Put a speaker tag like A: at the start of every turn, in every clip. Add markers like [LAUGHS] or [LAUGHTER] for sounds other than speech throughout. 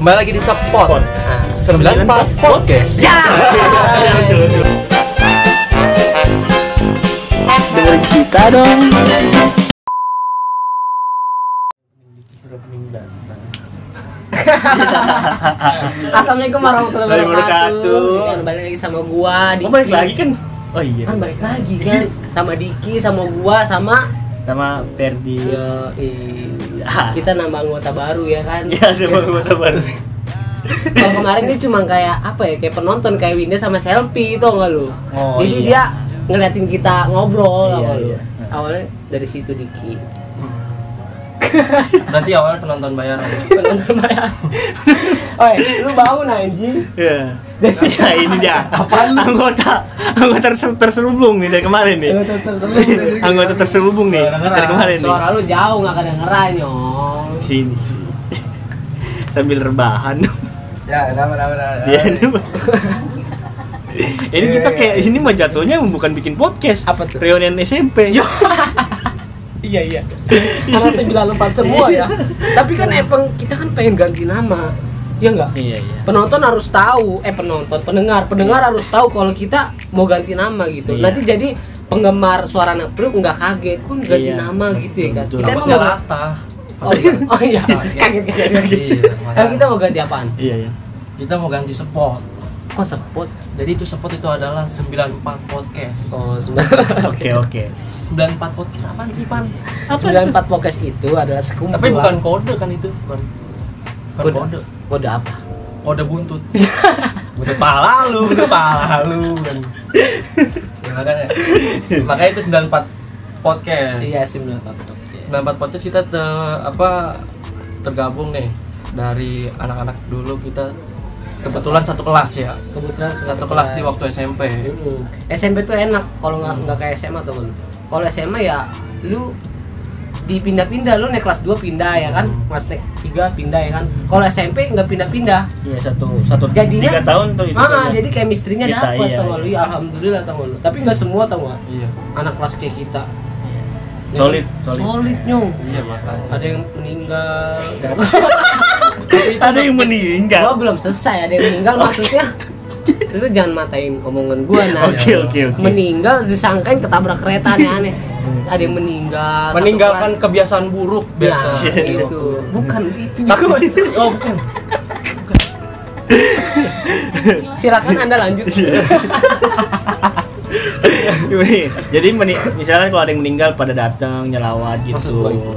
A: kembali lagi di Sepot. Sembilan Empat Podcast. Ya.
B: dengerin kita dong
C: Assalamualaikum warahmatullahi
B: Warahmatullahi
C: wabarakatuh.
B: wabarakatuh.
C: Yang balik lagi sama gua,
B: Gua
C: Diki.
B: balik lagi kan oh iya
A: Ah.
C: Kan balik lagi kan sama Diki, sama gua, sama
B: sama Ferdi
A: Iya.
C: ya, i- kita nambah anggota baru ya kan.
B: [LAUGHS] ya ada bang kota baru
C: Kalau kemarin dia cuma kayak apa ya? Kayak penonton kayak Winda sama selfie itu enggak lu.
B: Oh, iya.
C: Jadi dia ngeliatin kita ngobrol
B: Iya,
C: sama lu.
B: iya.
C: Awalnya dari situ Diki. [LAUGHS]
D: Berarti awalnya penonton bayaran.
C: Penonton bayar. Oi, lu bau anjing.
B: ya
A: Nah,
B: [LAUGHS] ya ini dia anggota anggota terse- terselubung nih dari kemarin nih [LAUGHS] anggota terselubung nih dari kemarin nih
C: Suara lu jauh nggak kedengeran, nyong.
B: sini sini [LAUGHS] sambil rebahan
D: Ya, nama nama nama.
B: ya ini mah- ini kita kayak ini mah jatuhnya bukan bikin podcast
C: Apa tuh?
B: reunian SMP
C: Iya iya. [LAUGHS] Karena sembilan empat semua ya. Tapi kan emang kita kan pengen ganti nama, ya nggak?
B: iya iya
C: Penonton harus tahu, eh penonton, pendengar, pendengar harus tahu kalau kita mau ganti nama gitu.
B: Iya.
C: Nanti jadi penggemar suara anak priuk nggak kaget, kan ganti
B: Iya,
C: nama gitu ya kan?
B: betul.
C: Kita emang
D: Takutnya
C: mau
D: rata.
C: Oh, iya. oh iya, [LAUGHS] kaget kaget kaget.
D: Iya, makanya.
C: Nah, kita mau ganti apaan?
B: iya iya
D: Kita mau ganti spot.
C: Kok sepot?
D: Jadi itu spot itu adalah 94 podcast.
C: Oh, [LAUGHS] sembilan.
B: oke oke
D: 94 podcast apaan sih, Pan?
C: Sembilan empat podcast itu adalah sekumpulan.
D: Tapi bukan kode kan itu, bukan. Bukan
C: kode.
D: kode.
C: Kode apa?
D: Kode buntut. Buntut pala lu, buntut pala lu kan. Ya, makanya. Makanya itu 94 podcast.
C: Iya sembilan empat podcast.
D: 94 podcast kita te- apa tergabung nih dari anak-anak dulu kita kebetulan satu kelas ya
C: Kebetulan
D: satu kelas di waktu SMP
C: Mm. SMP tuh enak
B: Hmm.
C: kalau nggak nggak kayak SMA tuh lu. Kalau SMA ya lu dipindah-pindah lu naik kelas 2 pindah ya kan
B: Hmm.
C: kelas naik 3 pindah ya kan kalau SMP nggak pindah-pindah
B: Iya satu satu
C: jadinya
B: tiga tahun tuh itu. kan.
C: ah, jadi chemistry-nya
B: Kita,
C: dapat
B: iya,
C: tau nggak lu ya alhamdulillah tau nggak lu tapi nggak semua tau nggak
D: iya
C: anak kelas kayak kita Ya kan?
B: Solid,
C: solid,
B: solid.
C: nyong
D: iya makanya
C: ada yang meninggal
B: [LAUGHS] ada yang meninggal.
C: gua belum selesai ada yang meninggal
B: [LAUGHS]
C: maksudnya lu jangan matain omongan gua nah
B: Oke oke oke.
C: meninggal disangkain ketabrak kereta aneh-aneh ada yang meninggal satu Ya,
D: meninggalkan kebiasaan buruk
C: kelas-
B: Iya,
C: ya,
D: biasa
B: gitu.
C: itu bukan itu
D: tapi oh bukan
C: silakan anda lanjut
B: Iya. jadi meni- misalnya kalau ada yang meninggal pada datang nyelawat
D: Maksud
B: gitu.
D: gua itu.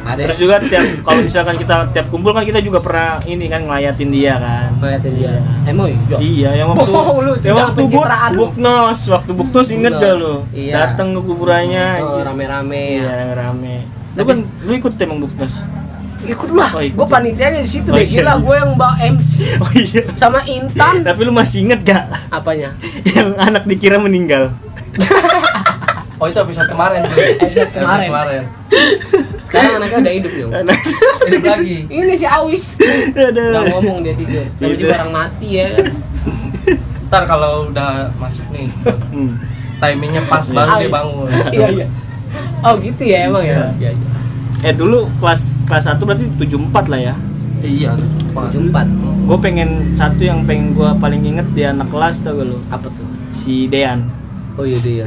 C: ada
B: Terus juga tiap kalau misalkan kita tiap kumpul kan kita juga pernah ini kan ngelayatin dia kan.
C: ngeliatin dia emang iya
B: Iya, yang waktu
C: Bohong lu, itu
B: yang
C: jangan
B: waktu buk,
C: pencitraan lu.
B: buknos, waktu buknos inget
C: Buknos.
B: gak lu?
C: Iya.
B: Datang ke kuburannya.
C: Oh,
B: anjing.
C: rame-rame ya
B: Iya, rame. Lu
C: Tapi-
B: kan lu ikut emang buknos.
C: ikut lah
B: Oh, ikut.
C: gue panitianya di situ
B: Oh,
C: deh
B: iya.
C: gila gue yang bawa MC
B: Oh iya.
C: sama Intan
B: Tapi lu masih inget gak
C: apanya
B: yang anak dikira meninggal?
D: oh itu episode kemarin tuh
C: Episode kemarin. sekarang anaknya udah hidup yong
B: Anak-
D: hidup lagi
C: ini si
B: [LAUGHS]
C: Awis
B: Aduh.
C: nggak ngomong dia tidur tapi
B: Tidur.
C: juga orang mati ya kan
D: ntar kalau udah masuk nih
B: Hmm.
D: timingnya pas baru
C: Iya.
D: dia bangun
C: [LAUGHS] iya iya oh gitu ya emang ya iya iya
B: Eh dulu kelas kelas 1 berarti 74 lah ya.
D: iya
C: tujuh empat
B: Gue pengen satu yang pengen gue paling inget di anak kelas tau gak lu?
C: apa tuh
B: Si Dean.
C: oh iya dia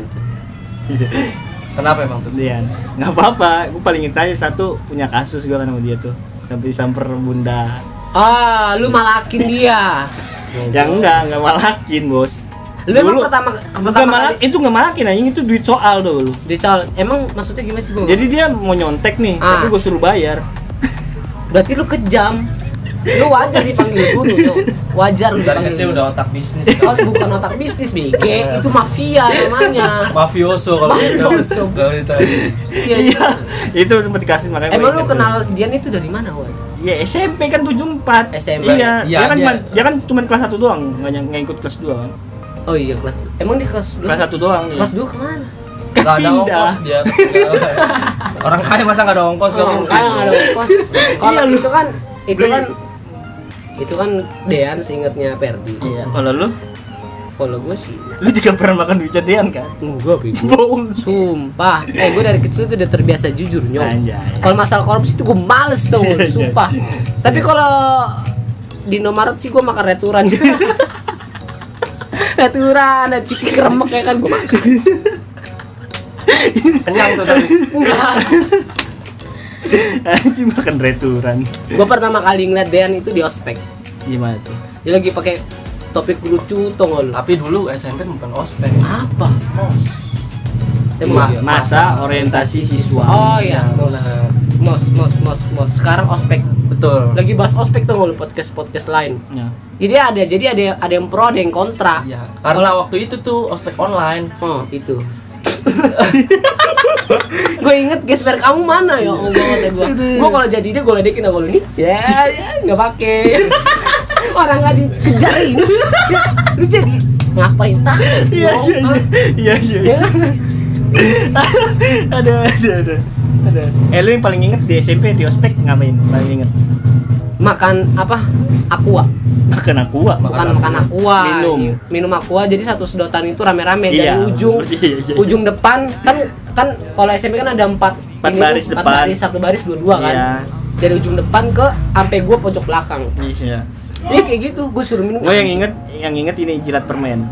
D: kenapa emang tuh
B: Dean. Nggak apa-apa. Gue paling inget aja satu punya kasus gue kan sama dia tuh. Sampai disamper bunda.
C: ah lu malakin dia
B: Ya enggak, enggak malakin bos.
C: lu emang pertama
B: Nggak
C: pertama
B: malak,
C: kali
B: itu nggak malakin anjing itu duit soal tuh lu.
C: dical emang maksudnya gimana sih gue
B: Jadi dia mau nyontek nih,
C: Ah.
B: tapi gue suruh bayar.
C: berarti lu kejam lu wajar dipanggil guru tuh wajar lu
D: dari
C: dipanggil
D: kecil
C: guru.
D: udah otak
C: [LAUGHS]
D: bisnis
C: Oh, bukan otak bisnis BG, itu mafia namanya.
D: mafioso kalau kita
C: Mafioso.
D: kalau kita
C: Iya. iya.
B: Iya, [LAUGHS] itu sempat dikasih makanya.
C: Emang
B: gua
C: gitu. lu
B: inget
C: kenal
B: dulu.
C: Dian itu dari mana, Wan?
B: Ya SMP kan 74
C: SMP.
B: Iya,
D: Iya,
B: dia kan
D: dia-
B: cuman- dia kan cuma kelas 1 doang, nggak ny- nggak ikut kelas 2 kan.
C: Oh iya kelas du- Emang di kelas dua?
B: Kelas 1 doang iya. dia.
C: Kelas dua kemana?
D: nggak ada
B: Pindah.
D: ongkos
C: [LAUGHS]
D: dia orang kaya masa nggak ada ongkos nggak
C: Oh,
D: mungkin
C: kan ada kos. Kalau
B: Iya, lu.
C: itu kan itu
B: Lu-
C: kan itu kan Dean seingatnya Perdi.
B: Iya. Kalau lu,
C: Kalau gue sih
B: lu juga pernah makan duit catean kan?
C: enggak bego.
B: Bohong.
C: Sumpah, eh gue dari kecil tuh udah terbiasa jujur nyong.
B: Anjay.
C: Kalau masalah korupsi tuh gue males tuh,
B: Iya, iya.
C: sumpah. Tapi kalau di Indomaret sih gua makan [LAUGHS] returan returan ada ciki kremek ya kan gua makan
D: kenyang tuh tapi
C: enggak
B: Anjing makan returan.
C: gua pertama kali ngeliat Dean itu di ospek
B: Gimana tuh?
C: dia lagi pakai topi kerucut tau nggak lu
D: tapi dulu SMP bukan ospek
C: apa
D: mos
C: Emang
D: Iya.
B: Masa orientasi siswa.
C: oh iya mos
D: Benar.
C: mos mos mos mos sekarang ospek
D: betul
C: lagi bahas ospek tuh lu podcast podcast lain
B: Ya.
C: jadi ada jadi ada ada yang pro ada yang kontra
D: Iya, karena waktu itu tuh ospek online
C: oh [LAUGHS] itu gue inget gesper kamu mana ya Allah kata
B: Iya.
C: gue gue kalau jadi dia gue ledekin kalau ini ya ya nggak
B: [LAUGHS]
C: pakai orang nggak dikejar ini Ya, lu jadi ngapain Ya kan? tak
B: Iya iya iya iya. iya. ada ada ada. Ada. Eh lu yang paling inget di SMP di ospek ngapain? Paling inget
C: makan apa aqua
B: makan aqua.
C: bukan makan aqua iya.
B: Minum.
C: minum aqua jadi satu sedotan itu rame-rame
B: Iya.
C: dari
B: [LAUGHS]
C: ujung
B: Iya, iya.
C: ujung depan kan kan kalau SMP kan ada empat
B: Empat
C: ini tuh,
B: baris
C: empat
B: depan.
C: baris satu baris dua-dua kan
B: Iya.
C: dari ujung depan ke sampai gua pojok belakang
B: Iya.
C: Iya kayak gitu, gue suruh minum.
B: Gue yang inget yang inget ini jilat permen.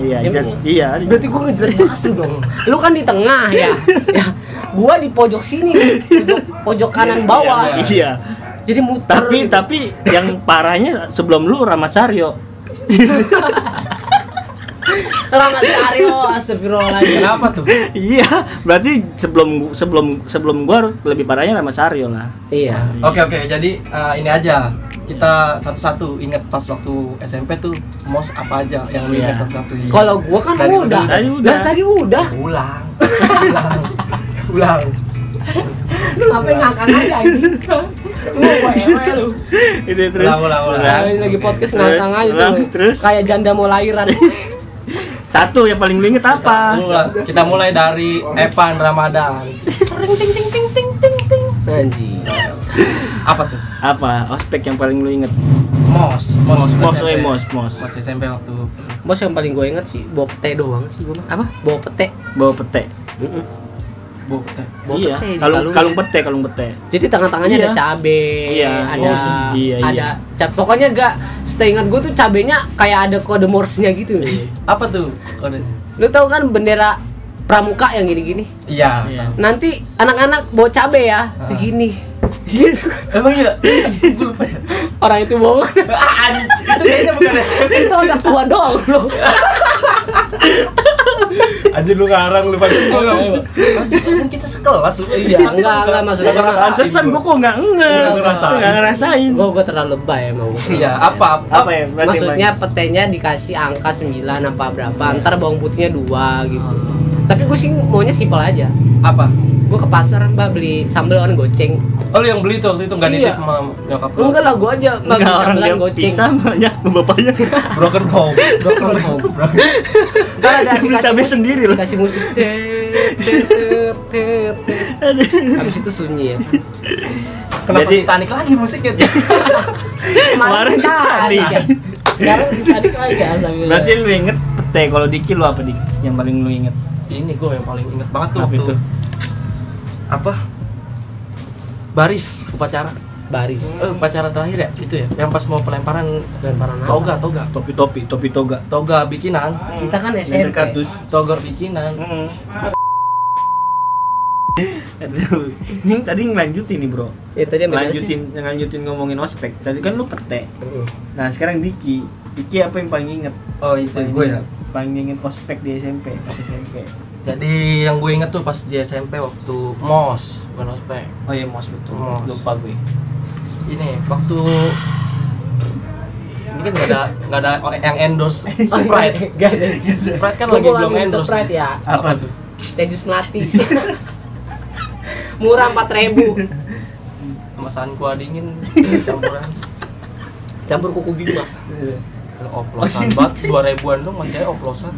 B: Iya,
C: Emang
B: jilat, iya.
C: Berarti gue ngejelas bahas lu dong. Lu kan di tengah ya. ya. Gua di pojok sini, nih, pojok, pojok kanan bawah.
B: Iya, Iya.
C: Jadi muter.
B: Tapi
C: gitu.
B: tapi yang parahnya sebelum lu Rahmat Saryo.
C: Rahmat Aryo, astagfirullahaladzim.
D: kenapa tuh
B: iya, berarti sebelum sebelum sebelum gua lebih parahnya Rahmat Saryo lah.
C: Iya.
D: oke oke jadi eh, ini aja kita satu-satu inget pas waktu SMP tuh mos apa aja yang lu inget
B: Iya.
D: satu-satu
C: Kalau gua kan
D: Tadi
C: udah.
D: udah.
B: Tadi udah.
C: Nah, tadi udah.
D: ulang [LAUGHS] ulang ulang
C: Lu ngapain ngangkang aja anjing? Lu wewe lu.
B: Itu terus.
D: Ulang, ulang, ulang.
B: ulang.
C: Lagi lagi
D: Oke.
C: podcast
B: Terus,
C: ngangkang aja tuh.
B: ulang, terus.
C: Kayak janda mau
B: [LAUGHS]
C: lahiran.
B: Satu yang paling lu inget
C: Ah.
B: apa?
D: ulang kita mulai dari Evan Ramadan
C: Anjing.
D: apa tuh
B: Apa? Ospek yang paling lu inget?
D: mos mos
B: Mos,
D: SMP.
B: eh, mos, mos.
D: mos SMP waktu
C: Bos yang paling gue inget sih bawa pete doang sih gue mah. Apa? Bawa pete.
B: Bawa pete.
C: Mm-mm.
D: bokep
C: Bawa
B: iya,
C: pete,
B: kalung
C: kalungnya.
B: kalung pete, kalung pete.
C: Jadi tangan-tangannya
B: Iya.
C: ada cabe,
B: Iya.
C: ada
B: Oh, iya, iya.
C: ada cap. Pokoknya gak seingat gue tuh cabenya kayak ada kode Morse-nya
B: [LAUGHS]
C: gitu.
D: apa tuh kodenya
C: Lu tahu kan bendera pramuka yang gini-gini.
D: iya
B: Iya.
C: Nanti anak-anak bawa cabe ya,
B: Ah.
C: segini. [LAUGHS] Gitu.
D: emang iya gue lupa ya
C: Orang itu bohong.
D: Ah, an- itu kayaknya bukan SMP
C: itu udah tua doang loh.
D: Anjir lu ngarang lu pada Kan kita sekelas lu.
C: Iya, enggak, enggak, maksudnya
D: Enggak
C: ngerasain
B: Pantesan gua kok nggak nget.
D: Nggak ngerasain.
B: Nggak ngerasain.
C: Gue gue terlalu lebay emang. gua terlalu
D: Iya,
C: lebay.
D: apa
B: Apa ya? Berarti
C: Maksudnya petenya dikasih angka 9 apa berapa, ntar bawang putihnya dua gitu. Tapi gue sih maunya simpel aja.
D: Apa?
C: Gue ke pasar mbak beli sambal on goceng.
D: Oh lu yang beli tuh waktu itu enggak
C: Iya.
D: nitip sama nyokap lu.
C: Enggak lah, gue aja nggak
B: Nggak,
C: bisa
B: orang
C: bilang
B: yang
C: goceng.
B: pisah banyak bapaknya. [LAUGHS]
D: Broken home. Broken home.
C: Ntar
B: [LAUGHS]
C: ada
B: Beli cabai sendiri loh.
C: Dikasih
B: [LAUGHS]
C: musik. Tet, tet, tet, tet, tet. Habis itu sunyi ya.
D: Kenapa
B: Jadi-
D: Titanic lagi musiknya?
B: Kemarin tadi.
C: kan. Sekarang tadi aja sambil.
B: Berarti lu inget pete kalau Diki lu apa Dik? Yang paling lu inget?
D: Ini gue yang paling inget banget tuh.
B: Apa
D: waktu-
B: itu?
D: Apa? Baris upacara.
C: baris.
D: Eh, upacara terakhir ya? Itu ya. Yang pas mau pelemparan
C: Lemparan apa?
D: toga, toga.
B: Topi-topi, topi toga.
D: Toga bikinan.
C: Kita kan
B: Nyender
C: SMP.
B: kardus.
D: Toga bikinan.
B: [LAUGHS] Heeh. Aduh, ini tadi ngelanjutin nih bro
C: Ya tadi yang bener sih.
B: Lanjutin, lanjutin ngomongin ospek Tadi kan lu pete
C: Heeh.
B: Nah sekarang Diki Diki apa yang paling inget?
D: Oh, itu
B: Paling
D: gue ya.
B: inget- Paling inget ospek di SMP Pas SMP
D: Jadi yang gue inget tuh pas di SMP waktu mos, bukan ospek.
B: Oh iya mos betul
D: Mos.
B: Lupa gue
D: ini waktu ini kan nggak ada nggak ada orang yang
C: [LAUGHS]
D: endorse Sprite
C: Gak
D: [LAUGHS]
C: ada.
D: Sprite kan
C: Iya. Gua
D: lagi
C: mau
D: belum
C: ambil
D: endorse
C: Sprite ya.
D: apa tuh
C: Teh jus melati. [LAUGHS] Murah 4000
D: sama sanqua dingin campuran
C: campur kuku bima.
D: Ada oplosan banget dua ribuan dong masih aja oplosan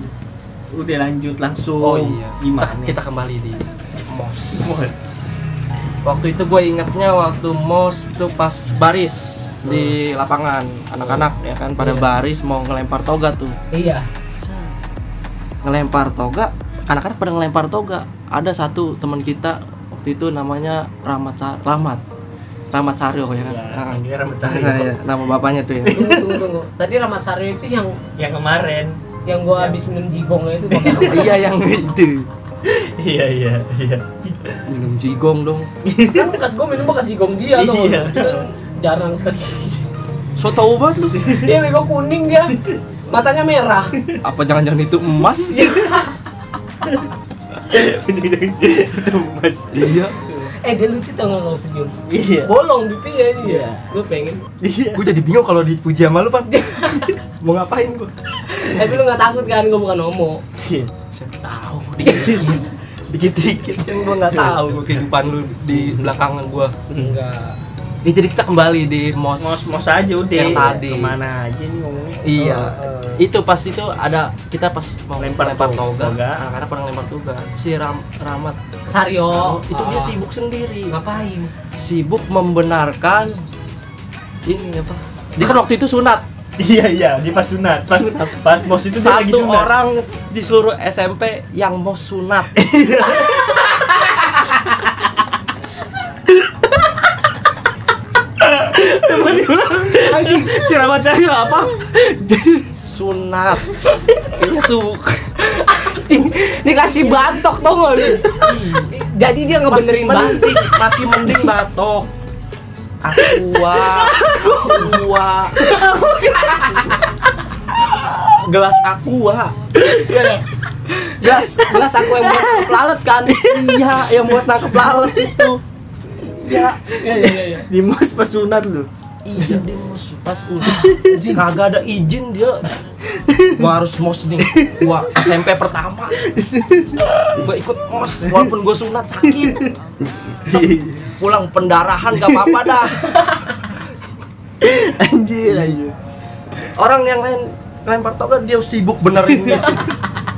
B: Udah lanjut langsung
C: Oh,
D: gimana
B: Gimana?
D: Oh, iya. kita kembali di mos waktu itu gue ingetnya waktu mos tuh pas baris di
C: Hmm.
D: lapangan anak-anak ya kan pada baris mau ngelempar toga tuh
C: Iya.
D: ngelempar toga anak-anak pada ngelempar toga ada satu teman kita waktu itu namanya Rahmat Sa- Rahmat Rahmat Saryo ya kan. Ah.
B: Ya, ini rambut
D: Nah,
B: tarik.
D: ya, nama bapaknya tuh ya.
C: tunggu tunggu tunggu tadi Rahmat Saryo itu yang
B: Yang kemarin.
C: yang gua habis minum jibong itu [LAUGHS] bang
D: iya yang itu.
B: [LAUGHS] Iya iya iya.
D: Minum jigong dong.
C: kan bekas gua minum bekas jigong dia tuh
B: Iya.
C: kan jarang sekali [LAUGHS]
D: So tau banget lu.
C: dia bego kuning dia matanya merah
D: Apa jangan-jangan itu emas?
B: Itu mas.
D: iya.
C: eh dia lucu tau nggak kalau senyum
B: Iya.
C: bolong pipinya ini ya gue pengen
B: Iya.
D: Gue jadi bingung kalau dipuji sama lu, Pan. Mau ngapain gua?
C: Eh, tapi lu nggak takut kan gue bukan homo
D: Siapa tahu dikit-dikit. Dikit-dikit kan gua enggak tahu kehidupan lu di belakangan gua.
C: enggak
D: Ya, jadi kita kembali di Mos.
B: Mos mos aja udah.
D: Yang tadi.
B: Kemana aja nih ngomongnya?
D: Iya.
C: Oh, eh.
D: Itu pas itu ada kita pas mau
B: Lempar toga.
D: toga, anak-anak pernah lempar toga. Si Ram Ramat Oh,
C: Sario
D: itu dia
C: Ah.
D: sibuk sendiri.
C: ngapain
D: Sibuk membenarkan ini apa? Dia kan waktu itu sunat.
B: Iya iya, di pas sunat. Pas pas mos itu dia lagi
D: Satu
B: sunat.
D: orang di seluruh SMP yang mau sunat. Temen diulang anjing si Ramat Cahyo apa? sunat. Kayaknya tuh
C: dikasih batok tau nggak lu jadi dia
D: masih
C: ngebenerin banget
D: mending masih mending batok aqua aqua gelas aqua
C: gelas gelas aku yang buat lalat kan
D: iya yang buat nangkep lalat itu ya
B: Di mos pas sunat lu.
D: iya dia mau pas udah kagak ada izin dia gua harus mos nih gua SMP pertama gua ikut mos walaupun gua sunat sakit pulang pendarahan gak apa-apa dah
B: Anjir anjir.
D: orang yang lain lempar toga dia sibuk benerin gitu.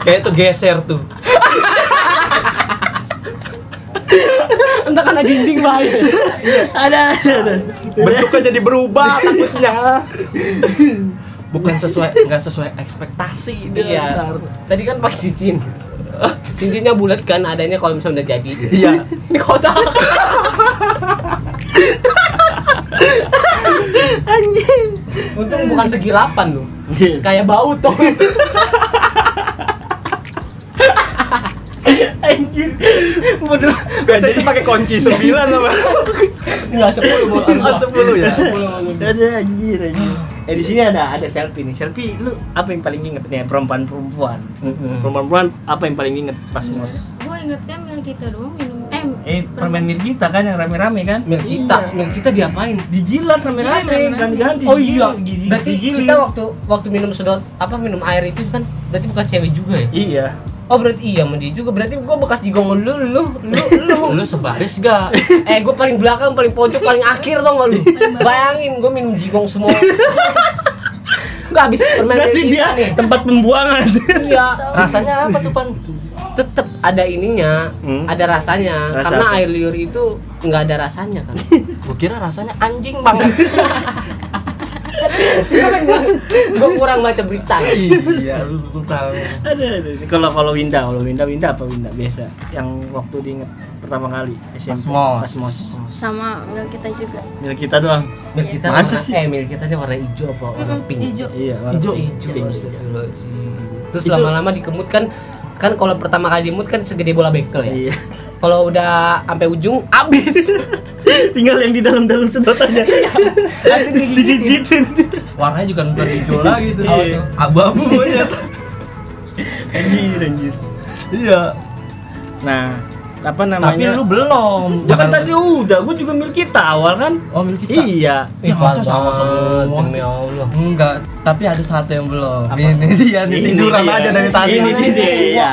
D: kayak itu geser tuh
C: entah karena dinding bahaya
B: Ada ada ada.
D: bentuknya jadi berubah takutnya bukan sesuai nggak sesuai ekspektasi dia
C: iya
D: ntar.
C: tadi kan pakai cincin cincinnya bulat kan adanya kalau misalnya udah jadi
D: iya
C: ini kotak
D: anjing
C: untung bukan segi lapan lu
B: Iya.
C: kayak bau toh
B: Anjir. Bener.
D: biasa itu pakai kunci sembilan sama
C: nggak sepuluh bukan
D: Oh, sepuluh ya
B: Ada anjir anjir. Eh di sini ada ada selfie nih. Selfie lu apa yang paling inget nih perempuan-perempuan? Perempuan-perempuan apa yang paling inget pas mos?
E: gue ingetnya mil kita doang minum eh,
B: Eh permen Mirgita kan yang rame-rame kan?
C: mil kita mil kita diapain
B: Dijilat rame-rame,
E: Dijilat, rame-rame.
B: ganti-ganti.
C: oh iya
B: Digiling,
C: berarti
B: digiling.
C: kita waktu waktu minum sedot apa minum air itu kan berarti bukan cewek juga ya
B: Iya.
C: oh berarti iya sama dia juga berarti gua bekas jigong lu
B: [LAUGHS]
C: lu lu lu
D: lu sebaris gak
C: eh gua paling belakang paling pojok paling akhir tau gak lu bayangin gua minum jigong
B: [LAUGHS]
C: semua Gak habis permen
B: Berarti
C: dari
B: dia
C: kita nih
B: tempat pembuangan. [LAUGHS]
C: iya
D: rasanya apa tuh pan
C: tetap ada ininya,
B: Hmm.
C: ada rasanya.
B: Rasa
C: Karena
B: apa?
C: air liur itu nggak ada rasanya
B: [LAUGHS]
C: kan.
D: gua kira rasanya anjing banget
C: gue kurang baca berita.
D: iya lu belum tahu
B: ada ada. Kalau kalau Winda, kalau Winda Winda apa Winda biasa? Yang waktu diinget pertama kali
D: Pas
B: SMP.
D: mos.
B: Pas mos.
E: sama mil kita juga
B: Mil kita doang.
C: Mil kita
B: Masa
C: warna,
B: sih?
C: eh mil kita warna hijau apa warna
E: Mm-mm,
C: pink?
E: hijau
B: Iya,
D: Ijo.
C: Hijau.
B: Pink.
C: astagfirullahaladzim. Terus lama-lama dikemut kan kan kalau pertama kali dimut kan segede bola bekel ya.
B: Iya.
C: Kalau udah sampai ujung abis.
B: iya. [LAUGHS] Tinggal yang di dalam-dalam
D: [LAUGHS]
B: sedotannya.
D: Iya,
B: Gitu.
C: Langsung digigitin.
B: Digigitin.
D: warnanya juga bukan hijau lagi tuh
B: Apa tuh?
D: abu-abu aja tuh.
B: Anjir, anjir.
D: iya
B: Nah, apa namanya?
D: tapi lu belum
B: Bukan tadi udah, gue juga mil kita awal kan?
D: oh milik kita
B: Iya.
D: Ya, masa
C: banget,
D: sama semua?
C: demi Allah.
D: Enggak, tapi ada satu yang belum. Ini dia nih
B: Ini
D: tiduran
B: dia.
D: aja dari tadi.
B: Ini dia. Iya.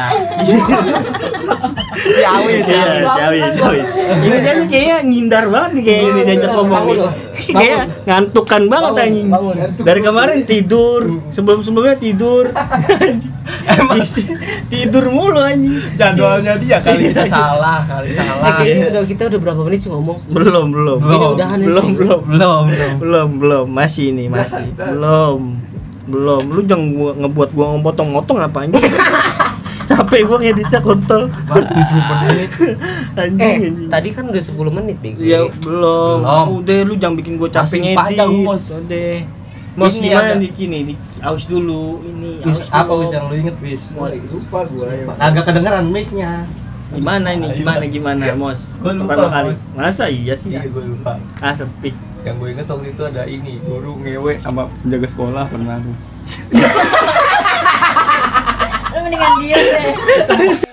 D: si Awi
B: Iya, Sawi, Sawi. Ini dia nih Iya, kayaknya ngindar banget nih kayak ini diajak ngomong nih.
C: Bangun,
B: [LAUGHS] Kayak ngantukan banget anjing.
C: bangun. Hmm.
B: Dari kemarin tidur, sebelum-sebelumnya
C: [LAUGHS]
B: tidur. Anjing. [LAUGHS] tidur mulu anjing.
D: Jadwalnya dia kali kita salah, kali
C: Eh,
D: salah.
C: kayaknya udah kita udah berapa menit sih ngomong?
B: Belum, belum.
C: Kayaknya udahan ya,
B: Belum,
C: Cing.
B: belum.
D: Belum, belum.
B: Belum, belum. Masih ini, masih.
C: [LAUGHS]
B: Belum. Belum. Lu jangan gua- ngebuat gua ngepotong-motong apa anjing. capek gua ngeditnya kontol
D: baru tujuh menit
B: anjing
C: eh
B: anjing
C: tadi kan udah 10 menit nih
B: ya belum
D: Belum.
B: udah lu jangan bikin gua
D: Masih
B: capek ngedit
D: panjang, Mos.
B: udah Mos
D: Ini
B: gimana
D: ada-
B: di kini di aus dulu ini
D: Wis,
B: aus
D: apa
B: dulu.
D: wis yang lu inget wis
A: lupa gue
D: agak kedengeran mic-nya
B: gimana ini gimana gimana mos
A: Gua lupa,
B: pertama kali
A: Mos.
B: masa iya sih
A: gue lupa
B: ah sepi
A: yang gue inget waktu itu ada ini guru ngewe sama penjaga sekolah pernah tuh
E: Lu mendingan dia deh.